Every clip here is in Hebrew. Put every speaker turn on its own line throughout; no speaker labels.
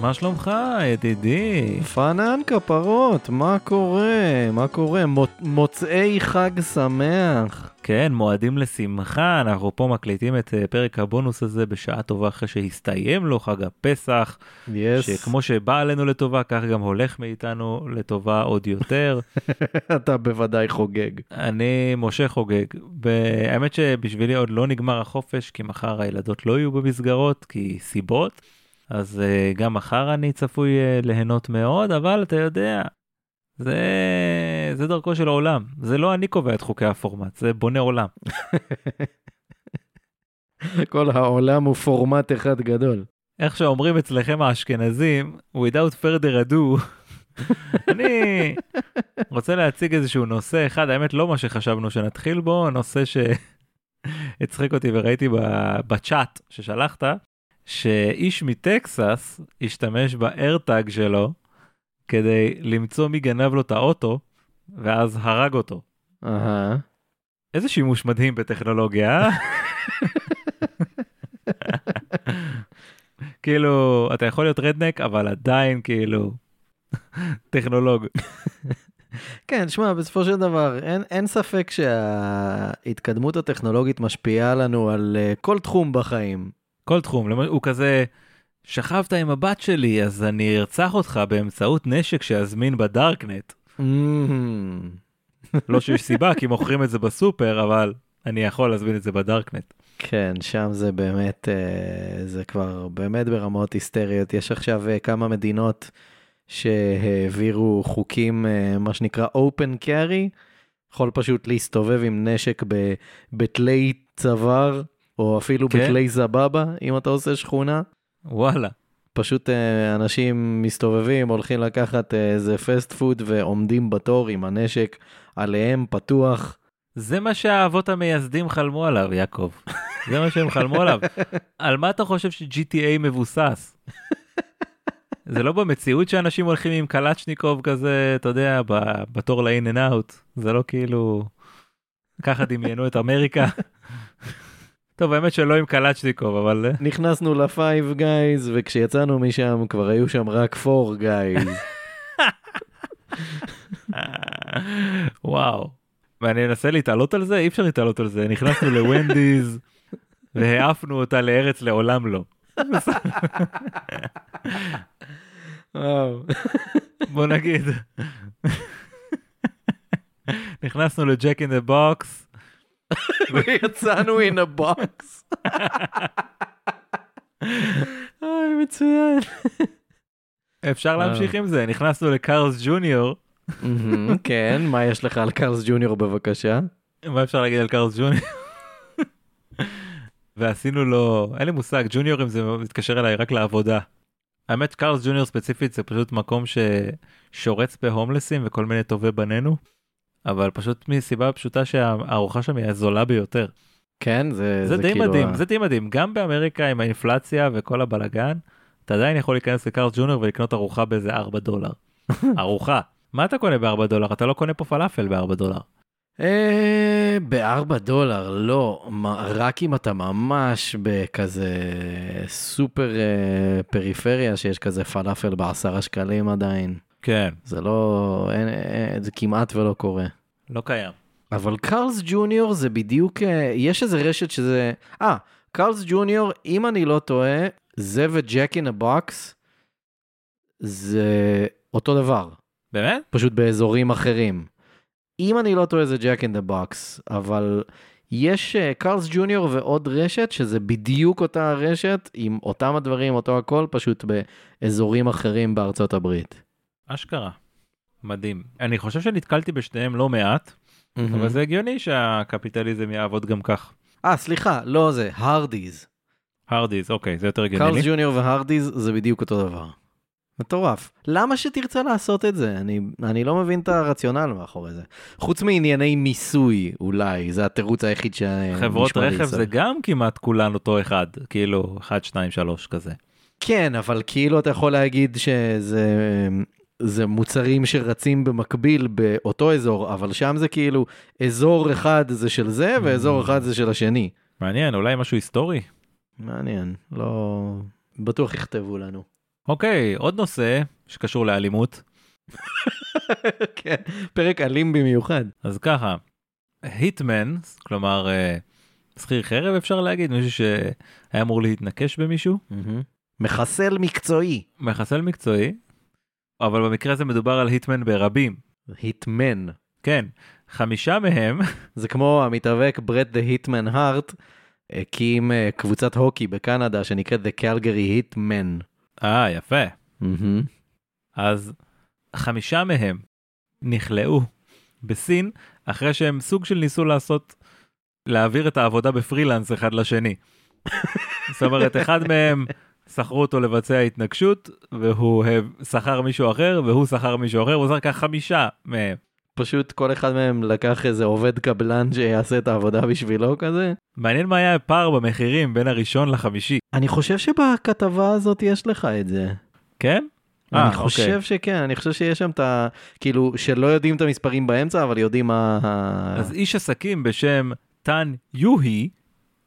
מה שלומך, ידידי?
פאנן כפרות, מה קורה? מה קורה? מוצ- מוצאי חג שמח.
כן, מועדים לשמחה, אנחנו פה מקליטים את אה, פרק הבונוס הזה בשעה טובה אחרי שהסתיים לו חג הפסח, yes.
יס.
שכמו שבא עלינו לטובה, כך גם הולך מאיתנו לטובה עוד יותר.
אתה בוודאי חוגג.
אני משה חוגג, והאמת שבשבילי עוד לא נגמר החופש, כי מחר הילדות לא יהיו במסגרות, כי סיבות, אז אה, גם מחר אני צפוי אה, ליהנות מאוד, אבל אתה יודע, זה, זה דרכו של העולם, זה לא אני קובע את חוקי הפורמט, זה בונה עולם.
כל העולם הוא פורמט אחד גדול.
איך שאומרים אצלכם האשכנזים, without further ado, אני רוצה להציג איזשהו נושא אחד, האמת לא מה שחשבנו שנתחיל בו, נושא שהצחיק אותי וראיתי ב- בצ'אט ששלחת, שאיש מטקסס השתמש באיירטאג שלו כדי למצוא מי גנב לו את האוטו, ואז הרג אותו.
אהה.
איזה שימוש מדהים בטכנולוגיה, אה? כאילו, אתה יכול להיות רדנק, אבל עדיין כאילו, טכנולוג.
כן, שמע, בסופו של דבר, אין, אין ספק שההתקדמות הטכנולוגית משפיעה לנו על אה, כל תחום בחיים.
כל תחום, למ- הוא כזה, שכבת עם הבת שלי, אז אני ארצח אותך באמצעות נשק שאזמין בדארקנט.
אמ,
לא שיש סיבה, כי מוכרים את זה בסופר, אבל אני יכול להזמין את זה בדארקנט.
כן, שם זה באמת, אה, זה כבר באמת ברמות היסטריות. יש עכשיו אה, כמה מדינות שהעבירו חוקים, אה, מה שנקרא open carry, יכול פשוט להסתובב עם נשק ב- בתלי צוואר, או אפילו
כן.
בתלי זבבה, אם אתה עושה שכונה.
וואלה.
פשוט אה, אנשים מסתובבים, הולכים לקחת אה, איזה פסט פוד ועומדים בתור עם הנשק עליהם פתוח.
זה מה שהאבות המייסדים חלמו עליו, יעקב. זה מה שהם חלמו עליו. על מה אתה חושב ש-GTA מבוסס? זה לא במציאות שאנשים הולכים עם קלצ'ניקוב כזה, אתה יודע, ב- בתור ל-in and out. זה לא כאילו... ככה דמיינו את אמריקה. טוב, האמת שלא עם קלצ'ניקוב, אבל... אה,
נכנסנו לפייב גייז, וכשיצאנו משם כבר היו שם רק פור גייז.
אה, וואו. ואני מנסה להתעלות על זה? אי אפשר להתעלות על זה. נכנסנו לוונדיז והעפנו אותה לארץ לעולם לא. בוא נגיד. נכנסנו לג'ק אין דה בוקס,
ויצאנו in a box. אוי, מצוין.
אפשר
וואו.
להמשיך עם זה, נכנסנו לקארלס ג'וניור,
מהמם, כן, מה יש לך על קארלס ג'וניור בבקשה?
מה אפשר להגיד על קארלס ג'וניור? ועשינו לו, אין לי מושג, ג'וניורים זה מתקשר אליי רק לעבודה. האמת קארלס ג'וניור ספציפית זה פשוט מקום ששורץ בהומלסים וכל מיני טובי בנינו, אבל פשוט מסיבה פשוטה שהארוחה שם היא הזולה ביותר.
כן, זה
זה די
כאילו
מדהים,
ה-
זה די מדהים. גם באמריקה עם האינפלציה וכל הבלגן, אתה עדיין יכול להיכנס לקארל ג'ונר ולקנות ארוחה באיזה 4 דולר. ארוחה. מה אתה קונה ב-4 דולר? אתה לא קונה פה פלאפל ב-4 דולר.
אה, בארבע דולר, לא, מה- רק אם אתה ממש בכזה סופר אה, פריפריה שיש כזה פלאפל בעשרה שקלים עדיין.
כן.
זה לא, אין, אין, זה כמעט ולא קורה.
לא קיים.
אבל קארלס ג'וניור זה בדיוק, אה, יש איזה רשת שזה, אה, קארלס ג'וניור, אם אני לא טועה, זה וג'ק אין הבוקס, זה אותו דבר.
באמת?
פשוט באזורים אחרים. אם אני לא טועה זה ג'ק אין דה בוקס, אבל יש אה, קארלס ג'וניור ועוד רשת שזה בדיוק אותה הרשת עם אותם הדברים, אותו הכל, פשוט באזורים אחרים בארצות הברית.
אשכרה. מדהים. אני חושב שנתקלתי בשניהם לא מעט,
Mm-hmm.
אבל זה הגיוני שהקפיטליזם יעבוד גם כך.
אה, סליחה, לא זה, הרדיז.
הרדיז, אוקיי, זה יותר הגיוני.
קארלס
לי.
ג'וניור והרדיז זה בדיוק אותו דבר. מטורף. למה שתרצה לעשות את זה? אני, אני לא מבין את הרציונל מאחורי זה. חוץ מענייני מיסוי, אולי, זה התירוץ היחיד ש...
חברות
נשמע לי
רכב
סביר.
זה גם כמעט כולן אותו אחד, כאילו 1, 2, 3 כזה.
כן, אבל כאילו אתה יכול להגיד שזה זה מוצרים שרצים במקביל באותו אזור, אבל שם זה כאילו אזור אחד זה של זה
Mm.
ואזור אחד זה של השני.
מעניין, אולי משהו היסטורי?
מעניין, לא... בטוח יכתבו לנו.
אוקיי, עוד נושא שקשור לאלימות.
כן, פרק אלים במיוחד.
אז ככה, היטמן, כלומר אה, שכיר חרב אפשר להגיד, מישהו שהיה אמור להתנקש במישהו,
מחסל מקצועי.
מחסל מקצועי, אבל במקרה הזה מדובר על היטמן ברבים.
היטמן.
כן, חמישה מהם,
זה כמו המתאבק ברט דה היטמן הארט, הקים אה, קבוצת הוקי בקנדה שנקראת The Calgary Hitman.
אה יפה, אז חמישה מהם נכלאו בסין אחרי שהם סוג של ניסו לעשות, להעביר את העבודה בפרילנס אחד לשני. זאת אומרת, אחד מהם שכרו אותו לבצע התנגשות, והוא אה, שכר מישהו אחר, והוא שכר מישהו אחר, הוא שכר חמישה מהם.
פשוט כל אחד מהם לקח איזה עובד קבלן שיעשה את העבודה בשבילו כזה.
מעניין מה היה הפער במחירים בין הראשון לחמישי,
אני חושב שבכתבה הזאת יש לך את זה.
כן? אה,
אני
אוקיי.
חושב שכן, אני חושב שיש שם את ה... כאילו, שלא יודעים את המספרים באמצע, אבל יודעים מה... ה-
אז איש עסקים בשם טאן יוהי,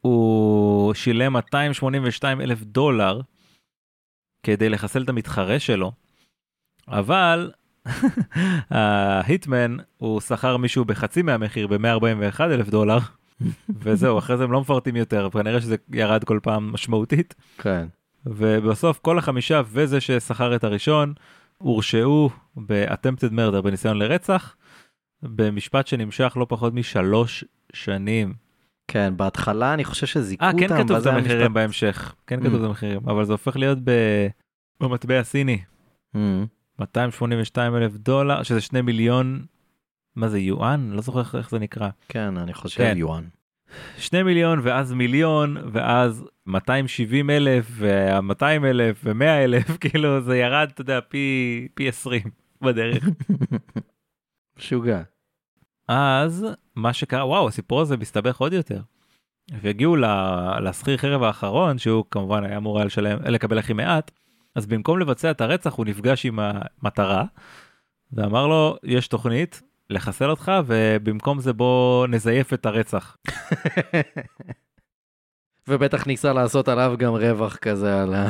הוא שילם 282 אלף דולר כדי לחסל את המתחרה שלו, אבל ההיטמן הוא שכר מישהו בחצי מהמחיר ב-141 אלף דולר, וזהו, אחרי זה הם לא מפרטים יותר, כנראה שזה ירד כל פעם משמעותית,
כן.
ובסוף כל החמישה וזה ששכר את הראשון הורשעו ב-attempted murder, בניסיון לרצח, במשפט שנמשך לא פחות משלוש שנים.
כן, בהתחלה אני חושב שזיכו
אה,
אותם.
כן כתוב את
ואז היה
המחירים
משפט-
בהמשך. כן כתוב
Mm.
את המחירים, אבל זה הופך להיות ב... במטבע הסיני.
Mm.
282 אלף דולר, שזה 2 מיליון, מה זה, יואן? לא זוכר איך- איך זה נקרא.
כן, אני חושב
כן.
יואן.
2 מיליון, ואז מיליון, ואז 270 אלף, ו-200 אלף, ו-100 אלף, כאילו זה ירד, אתה יודע, פי, פי 20 בדרך.
משוגע.
אז מה שקרה, וואו, הסיפור הזה מסתבך עוד יותר. והגיעו ל- לשכיר חרב האחרון, שהוא כמובן היה אמור היה לשלם, לקבל הכי מעט, אז במקום לבצע את הרצח הוא נפגש עם המטרה, ואמר לו, יש תוכנית לחסל אותך, ובמקום זה בוא נזייף את הרצח.
ובטח ניסה לעשות עליו גם רווח כזה על ה...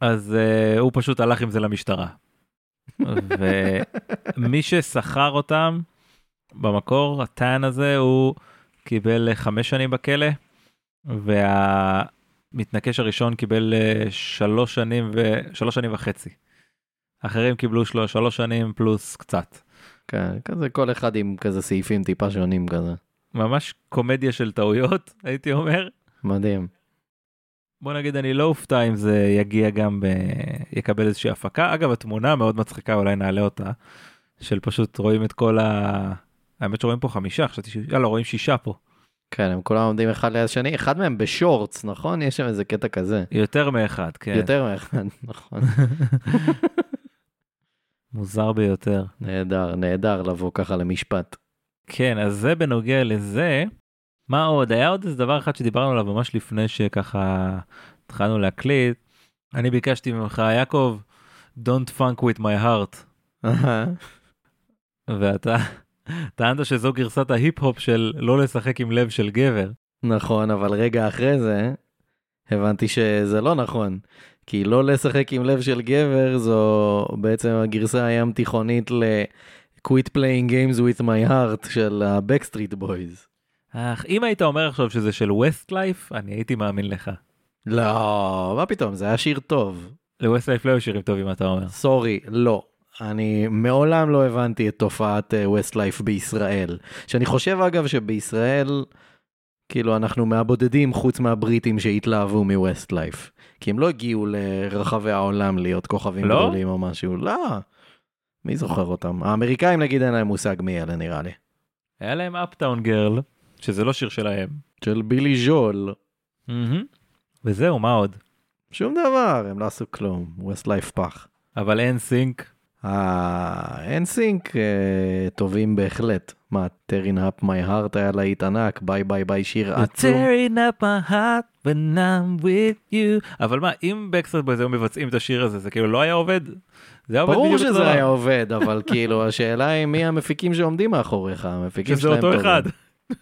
אז uh, הוא פשוט הלך עם זה למשטרה. ומי ששכר אותם במקור, הטען הזה, הוא קיבל אה, חמש שנים בכלא, והמתנקש הראשון קיבל אה, שלוש שנים, ו... שלוש שנים וחצי. אחרים קיבלו של... שלוש שנים פלוס קצת.
כן, כזה כל אחד עם כזה סעיפים טיפה שונים כזה.
ממש קומדיה של טעויות, הייתי אומר.
מדהים.
בוא נגיד אני לא אופתע אם זה יגיע גם ב... יקבל איזושהי הפקה. אגב התמונה מאוד מצחיקה אולי נעלה אותה. של פשוט רואים את כל ה... האמת שרואים פה חמישה חשבתי ש... אה, לא רואים שישה פה.
כן, הם כולם עומדים אחד ליד השני, אחד מהם בשורטס, נכון? יש שם איזה קטע כזה.
יותר מאחד כן. יותר...
יותר מאחד, נכון.
מוזר ביותר.
נהדר, נהדר לבוא ככה למשפט.
כן אז זה בנוגע לזה. מה עוד היה עוד איזה דבר אחד שדיברנו עליו ממש לפני שככה התחלנו להקליט. אני ביקשתי ממך יעקב don't funk with my heart ואתה טענת שזו גרסת ההיפ-הופ של לא לשחק עם לב של גבר.
נכון, אבל רגע אחרי זה, הבנתי שזה לא נכון. כי לא לשחק עם לב של גבר זו בעצם הגרסה הים תיכונית ל-Quit playing games with my heart של ה-Backstreet Boys.
אך אם היית אומר עכשיו שזה של ווסט לייף, אני הייתי מאמין לך.
לא, מה פתאום, זה היה שיר טוב.
לווסט לייף לא היו שירים טובים אתה אומר.
סורי, לא. אני מעולם לא הבנתי את תופעת ווסט לייף בישראל. שאני חושב אגב שבישראל, כאילו אנחנו מהבודדים חוץ מהבריטים שהתלהבו מווסט לייף. כי הם לא הגיעו לרחבי העולם להיות כוכבים
לא?
גדולים או משהו. לא. מי זוכר אותם? האמריקאים נגיד אין להם מושג מי אלה נראה לי.
היה להם אפטאון גרל, שזה לא שיר שלהם.
של בילי ז'ול.
וזהו, מה עוד?
שום דבר, הם לא עשו כלום. ווסט לייף פח.
אבל אין סינק.
ה-NSYNC אה, טובים בהחלט. מה, tearing up my heart היה להיט ענק, ביי ביי ביי שיר עצום.
up my heart when I'm with you. אבל מה, אם בקסטרד בויז היו מבצעים את השיר הזה, זה כאילו לא היה עובד? זה היה עובד
ברור
בדיוק אותו
שזה
דבר.
היה עובד, אבל כאילו השאלה היא מי המפיקים שעומדים מאחוריך, המפיקים
שזה
שלהם
אותו
טובים.
אחד.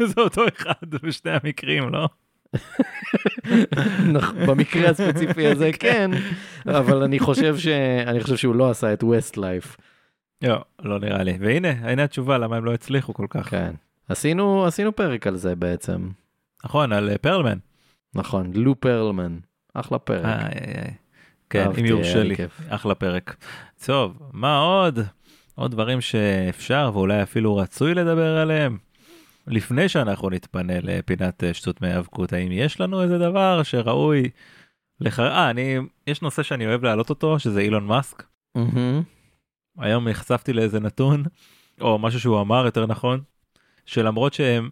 זה אותו אחד בשני המקרים, לא?
נכון, במקרה הספציפי הזה כן, אבל אני חושב ש... אני חושב שהוא לא עשה את ווסט לייף.
לא, לא נראה לי. והנה, הנה התשובה למה הם לא הצליחו כל כך.
כן. עשינו, עשינו פרק על זה בעצם.
נכון, על אה, פרלמן.
נכון, לו פרלמן. אחלה פרק.
איי, איי, איי. אה, כן,
אהבתי,
אם
היה
יורשה
לי
לי.
כיף.
אחלה פרק. טוב, מה עוד? עוד דברים שאפשר ואולי אפילו רצוי לדבר עליהם. לפני שאנחנו נתפנה לפינת אה, שטות מהיאבקות, האם יש לנו איזה דבר שראוי לך... אה, אני... יש נושא שאני אוהב להעלות אותו, שזה אילון מאסק.
מהמם.
היום נחשפתי לאיזה נתון, או משהו שהוא אמר יותר נכון, שלמרות שהם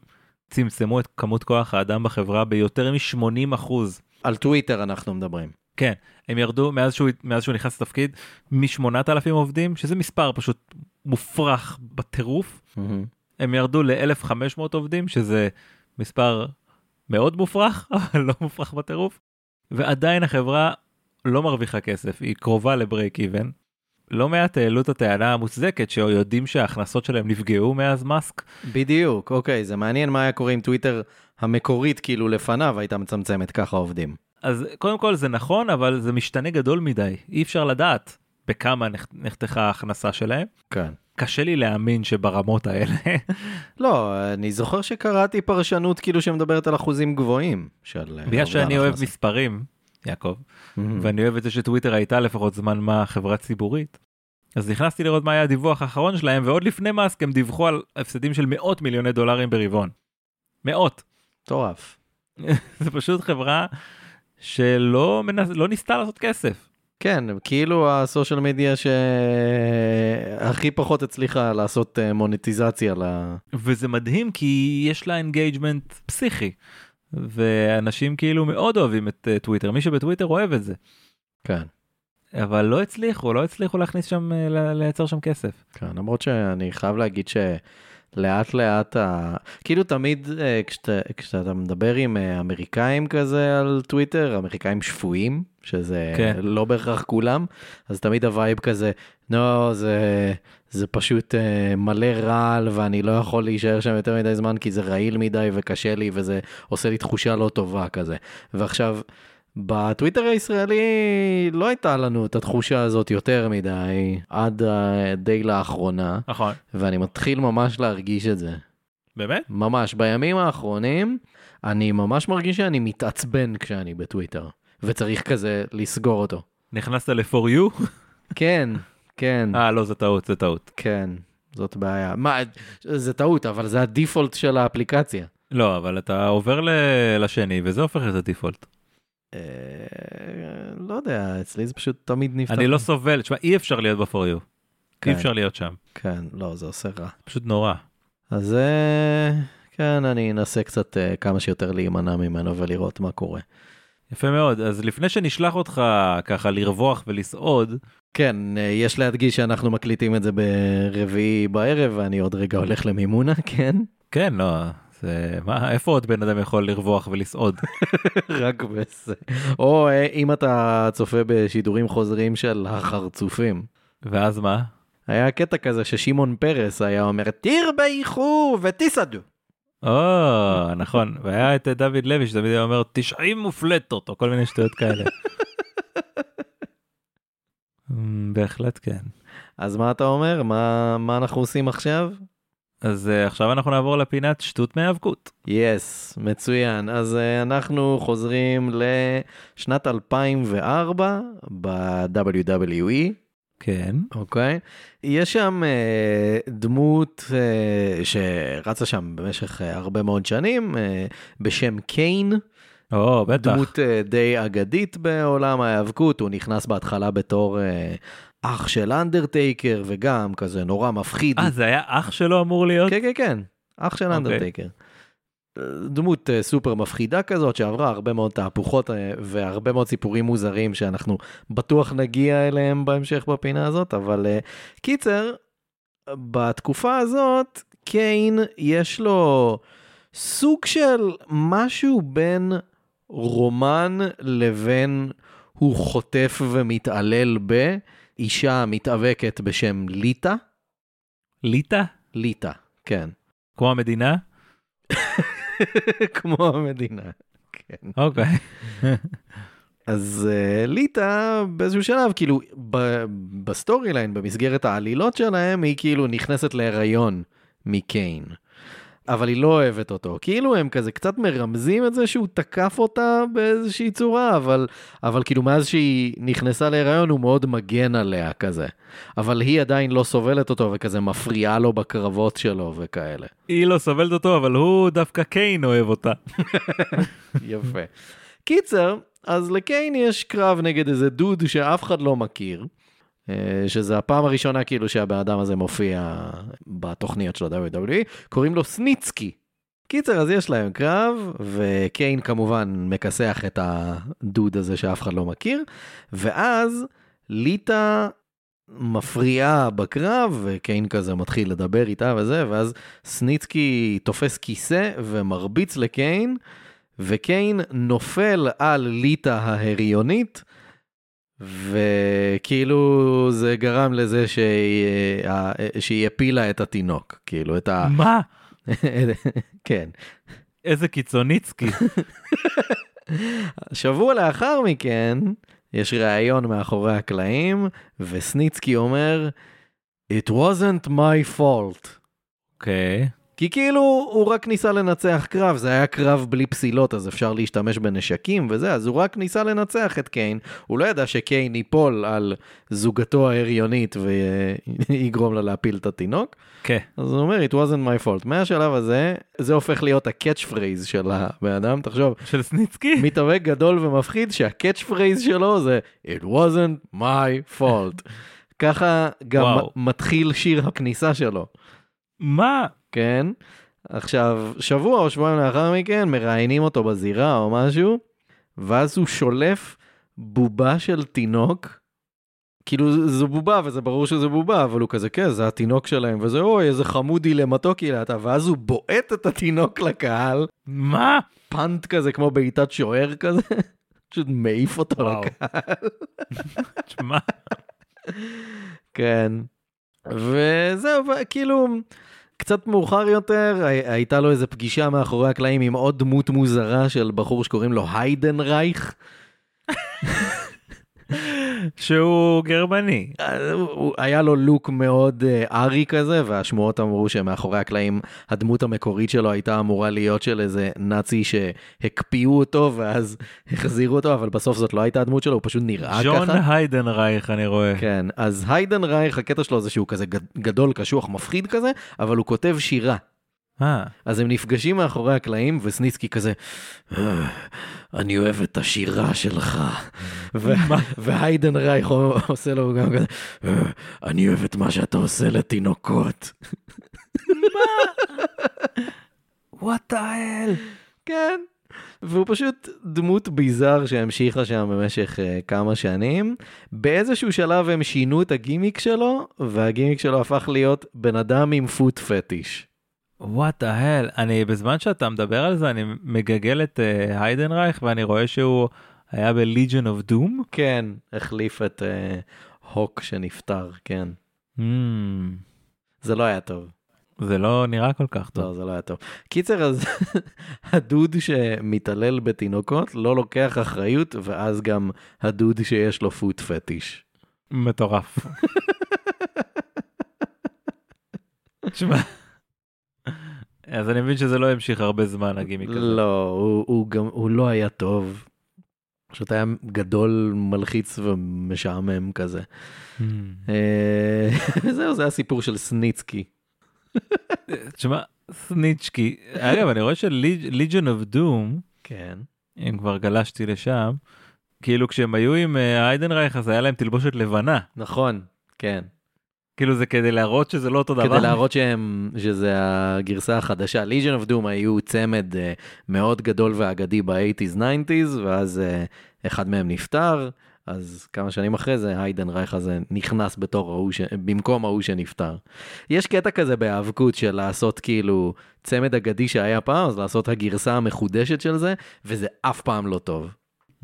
צמצמו את כמות כוח האדם בחברה ביותר מ-80 אחוז,
על טוויטר אנחנו מדברים.
הם ירדו מאז שהוא, מאז שהוא נכנס לתפקיד מ-8,000 עובדים, שזה מספר פשוט מופרך בטירוף,
מהמם.
הם ירדו ל-1,500 עובדים, שזה מספר מאוד מופרך, אבל לא מופרך בטירוף, ועדיין החברה לא מרוויחה כסף, היא קרובה לברייק איבן. לא מעט העלו את הטענה המוצדקת שיודעים שההכנסות שלהם נפגעו מאז מאסק.
בדיוק, אוקיי, זה מעניין מה היה קורה אם טוויטר המקורית כאילו לפניו הייתה מצמצמת ככה עובדים.
אז קודם כל זה נכון, אבל זה משתנה גדול מדי, אי אפשר לדעת בכמה נחת- נחתכה ההכנסה שלהם.
כן.
קשה לי להאמין שברמות האלה
לא, אני זוכר שקראתי פרשנות כאילו שמדברת על אחוזים גבוהים של... אה, Mhm.
בגלל שאני
אובדן
אוהב
הכנסה.
מספרים, יעקב,
מהמם.
ואני אוהב את זה שטוויטר הייתה לפחות זמן מה חברה ציבורית, אז נכנסתי לראות מה היה הדיווח האחרון שלהם, ועוד לפני מאסק הם דיווחו על הפסדים של מאות מיליוני דולרים ברבעון. מאות.
מטורף.
זה פשוט חברה שלא מנס... לא ניסתה לעשות כסף.
כן, כאילו הסושיאל מדיה שהכי פחות הצליחה לעשות אה, מוניטיזציה ל...
וזה מדהים כי יש לה אינגייג'מנט פסיכי. ואנשים כאילו מאוד אוהבים את אה, טוויטר, מי שבטוויטר אוהב את זה.
כן,
אבל לא הצליחו, לא הצליחו להכניס שם, אה, ל- לייצר שם כסף.
כן, למרות שאני חייב להגיד שלאט לאט, ה... כאילו תמיד אה, כשאתה, כשאתה מדבר עם אה, אמריקאים כזה על טוויטר, אמריקאים שפויים, שזה
כן.
לא בהכרח כולם, אז תמיד הווייב כזה, לא, זה, זה פשוט אה, מלא רעל ואני לא יכול להישאר שם יותר מדי זמן כי זה רעיל מדי וקשה לי וזה עושה לי תחושה לא טובה כזה. ועכשיו, בטוויטר הישראלי לא הייתה לנו את התחושה הזאת יותר מדי עד אה, די לאחרונה,
נכון.
ואני מתחיל ממש להרגיש את זה.
באמת?
ממש, בימים האחרונים, אני ממש מרגיש שאני מתעצבן כשאני בטוויטר, וצריך כזה לסגור אותו.
נכנסת ל-for you?
כן, כן,
אה, לא, זה טעות, זה טעות.
כן, זאת בעיה. מה, זה טעות, אבל זה הדיפולט של האפליקציה.
לא, אבל אתה עובר ל- לשני, וזה הופך את הדיפולט.
אה, לא יודע, אצלי זה פשוט תמיד נפתח.
אני לא סובל, תשמע, אי אפשר להיות ב-for you.
כן.
אי אפשר להיות שם.
כן, לא, זה עושה רע.
פשוט נורא.
אז אה, כן, אני אנסה קצת אה, כמה שיותר להימנע ממנו ולראות מה קורה.
יפה מאוד, אז לפני שנשלח אותך ככה לרווח ולסעוד,
כן, אה, יש להדגיש שאנחנו מקליטים את זה ברביעי בערב, ואני עוד רגע הולך למימונה, כן?
כן, לא, זה... מה, איפה עוד בן אדם יכול לרווח ולסעוד?
רק בזה. או אה, אם אתה צופה בשידורים חוזרים של החרצופים.
ואז מה?
היה קטע כזה ששמעון פרס היה אומר, תיר באיחור ותסעדו.
או, נכון, והיה את דוד לוי שתמיד היה אומר 90 מופלטות, או כל מיני שטויות כאלה. אמ, בהחלט כן.
אז מה אתה אומר? מה, מה אנחנו עושים עכשיו?
אז אה, עכשיו אנחנו נעבור לפינת שטות מהיאבקות.
יס, yes, מצוין. אז uh, אנחנו חוזרים לשנת 2004 ב-WWE,
כן.
אוקיי? יש שם uh, דמות uh, שרצה שם במשך uh, הרבה מאוד שנים uh, בשם קיין,
או, בטח. אה,
דמות uh, די אגדית בעולם ההיאבקות, הוא נכנס בהתחלה בתור uh, אח של אנדרטייקר וגם כזה נורא מפחיד.
אה, זה היה אח שלו אמור להיות?
כן, כן, כן, אח של
אוקיי.
אנדרטייקר. דמות אה, סופר מפחידה כזאת שעברה הרבה מאוד תהפוכות אה, והרבה מאוד סיפורים מוזרים שאנחנו בטוח נגיע אליהם בהמשך בפינה הזאת, אבל אה, קיצר, בתקופה הזאת קיין יש לו סוג של משהו בין רומן לבין הוא חוטף ומתעלל באישה מתאבקת בשם ליטא,
ליטא?
ליטא, כן.
כמו המדינה?
כמו המדינה.
אוקיי.
כן. אז אה, ליטא באיזשהו שלב, כאילו, ב- בסטורי ליין, במסגרת העלילות שלהם, היא כאילו נכנסת להיריון מקיין. אבל היא לא אוהבת אותו. כאילו הם כזה קצת מרמזים את זה שהוא תקף אותה באיזושהי צורה, אבל, אבל כאילו מאז שהיא נכנסה להיריון הוא מאוד מגן עליה כזה. אבל היא עדיין לא סובלת אותו וכזה מפריעה לו בקרבות שלו וכאלה.
היא לא סובלת אותו, אבל הוא דווקא קיין אוהב אותה.
יפה. קיצר, אז לקיין יש קרב נגד איזה דוד שאף אחד לא מכיר, אה, שזה הפעם הראשונה כאילו שהבן אדם הזה מופיע בתוכניות של E. ה-WWE, קוראים לו סניצקי. קיצר, אז יש להם קרב, וקיין כמובן מכסח את הדוד הזה שאף אחד לא מכיר, ואז ליטא מפריעה בקרב, וקיין כזה מתחיל לדבר איתה וזה, ואז סניצקי תופס כיסא ומרביץ לקיין, וקיין נופל על ליטא ההריונית, וכאילו זה גרם לזה שהיא, אה, שהיא הפילה את התינוק, כאילו את ה...
מה?
כן.
איזה קיצוניצקי.
שבוע לאחר מכן, יש ראיון מאחורי הקלעים, וסניצקי אומר, It wasn't my fault.
אוקיי.
כי כאילו הוא רק ניסה לנצח קרב, זה היה קרב בלי פסילות, אז אפשר להשתמש בנשקים וזה, אז הוא רק ניסה לנצח את קיין. הוא לא ידע שקיין ייפול על זוגתו ההריונית ויגרום לה להפיל את התינוק.
כן.
אז הוא אומר, it wasn't my fault. מהשלב הזה, זה הופך להיות הקאץ' פרייז של הבן אדם, תחשוב,
של סניצקי?
מתאבק גדול ומפחיד שהקאץ' פרייז שלו זה it wasn't my fault. ככה גם
וואו.
מתחיל שיר הכניסה שלו.
מה?
כן? עכשיו, שבוע או שבועיים לאחר מכן, מראיינים אותו בזירה או משהו, ואז הוא שולף בובה של תינוק. כאילו, זו בובה, וזה ברור שזה בובה, אבל הוא כזה, כן, זה התינוק שלהם, וזה, אוי, איזה חמודי למתוקי לאטה, ואז הוא בועט את התינוק לקהל,
מה?
פאנט כזה, כמו בעיטת שוער כזה, פשוט מעיף אותו
וואו.
לקהל.
תשמע,
כן. וזהו, כאילו, קצת מאוחר יותר, הי- הייתה לו איזו פגישה מאחורי הקלעים עם עוד דמות מוזרה של בחור שקוראים לו היידן רייך.
שהוא גרמני.
אה, הוא- הוא- היה לו לוק מאוד אה, ארי כזה, והשמועות אמרו שמאחורי הקלעים הדמות המקורית שלו הייתה אמורה להיות של איזה נאצי שהקפיאו אותו ואז החזירו אותו, אבל בסוף זאת לא הייתה הדמות שלו, הוא פשוט נראה אה, ככה.
ג'ון היידנרייך אני רואה.
כן, אז היידן רייך, הקטע שלו זה שהוא כזה גד- גדול, קשוח, מפחיד כזה, אבל הוא כותב שירה.
אה,
אז הם נפגשים מאחורי הקלעים, וסניצקי כזה, "אה, אני אוהב את השירה שלך. ו-
מה?
והיידן רייך עושה לו גם כזה, "אה, אני אוהב את מה שאתה עושה לתינוקות.
וואט האל.
כן. והוא פשוט דמות ביזאר שהמשיכה שם במשך uh, כמה שנים. באיזשהו שלב הם שינו את הגימיק שלו, והגימיק שלו הפך להיות בן אדם עם פוט פטיש.
וואט ההל, אני בזמן שאתה מדבר על זה אני מגגל את אה, היידנרייך ואני רואה שהוא היה ב-Legion of Doom.
כן, החליף את uh, הוק שנפטר, כן.
Hmm,
זה לא היה טוב.
זה לא נראה כל כך טוב.
לא, זה לא היה טוב. קיצר, אז הדוד שמתעלל בתינוקות לא לוקח אחריות, ואז גם הדוד שיש לו פוט פטיש.
מטורף. תשמע, אז אני מבין שזה לא המשיך הרבה זמן הגימיק הזה.
לא, הוא, הוא גם, הוא לא היה טוב. פשוט היה גדול, מלחיץ ומשעמם כזה.
Hmm.
אה, זהו, זה הסיפור של סניצקי.
תשמע, סניצ'קי, אגב אני רואה ש-Legion of Doom,
כן.
אם כבר גלשתי לשם, כאילו כשהם היו עם אה, היידנרייך אז היה להם תלבושת לבנה.
נכון, כן.
כאילו זה כדי להראות שזה לא אותו דבר.
כדי להראות שהם, שזה הגרסה החדשה. Legion of Doom היו צמד אה, מאוד גדול ואגדי ב-80's, 90's, ואז אה, אחד מהם נפטר, אז כמה שנים אחרי זה היידן רייך הזה נכנס בתור ההוא, ש... במקום ההוא שנפטר. יש קטע כזה בהיאבקות של לעשות כאילו צמד אגדי שהיה פעם, אז לעשות הגרסה המחודשת של זה, וזה אף פעם לא טוב.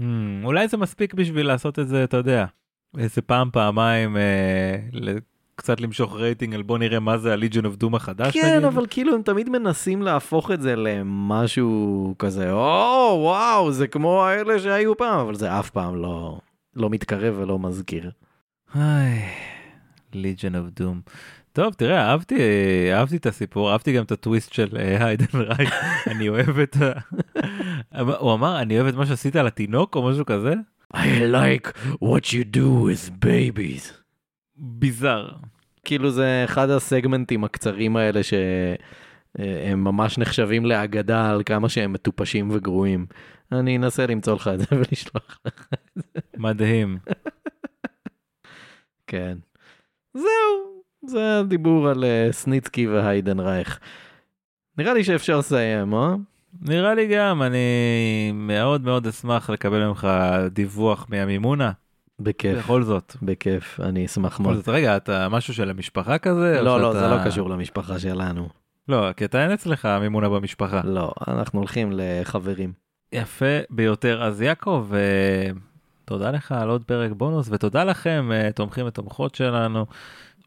Hmm, אולי זה מספיק בשביל לעשות את זה, אתה יודע, איזה פעם, פעמיים, אה, ל- קצת למשוך רייטינג על בוא נראה מה זה ה-Legion of Doom החדש
כן,
נגיד.
אבל כאילו הם תמיד מנסים להפוך את זה למשהו כזה, או, וואו, זה כמו האלה שהיו פעם, אבל זה אף פעם לא, לא מתקרב ולא מזכיר.
היי, Legion of Doom. טוב, תראה, אהבתי, אהבתי את הסיפור, אהבתי גם את הטוויסט של אה, היידן רייך, אני אוהב את ה... הוא אמר, אני אוהב את מה שעשית על התינוק או משהו כזה?
I like what you do with babies.
ביזאר.
כאילו זה אחד הסגמנטים הקצרים האלה שהם ממש נחשבים לאגדה על כמה שהם מטופשים וגרועים. אני אנסה למצוא לך את זה ולשלוח לך.
מדהים.
כן. זהו, זה הדיבור על אה, סניצקי והיידן רייך. נראה לי שאפשר לסיים, אה?
נראה לי גם, אני מאוד מאוד אשמח לקבל ממך דיווח מהמימונה.
בכיף,
בכל זאת.
בכיף, אני אשמח
בכל
מאוד.
זאת, רגע, אתה משהו של המשפחה כזה? או
לא, לא,
שאתה-
זה לא קשור למשפחה שלנו.
לא, כי אתה אין אצלך מימונה במשפחה.
לא, אנחנו הולכים לחברים.
יפה ביותר. אז יעקב, אה, תודה לך על עוד פרק בונוס, ותודה לכם, אה, תומכים ותומכות שלנו.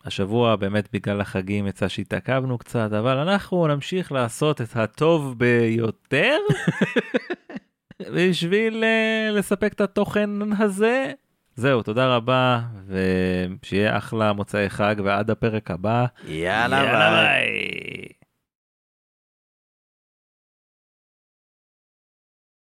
השבוע באמת בגלל החגים יצא שהתעכבנו קצת, אבל אנחנו נמשיך לעשות את הטוב ביותר בשביל אה, לספק את התוכן הזה. זהו, תודה רבה, ושיהיה אחלה מוצאי חג ועד הפרק הבא.
יאללה,
ביי.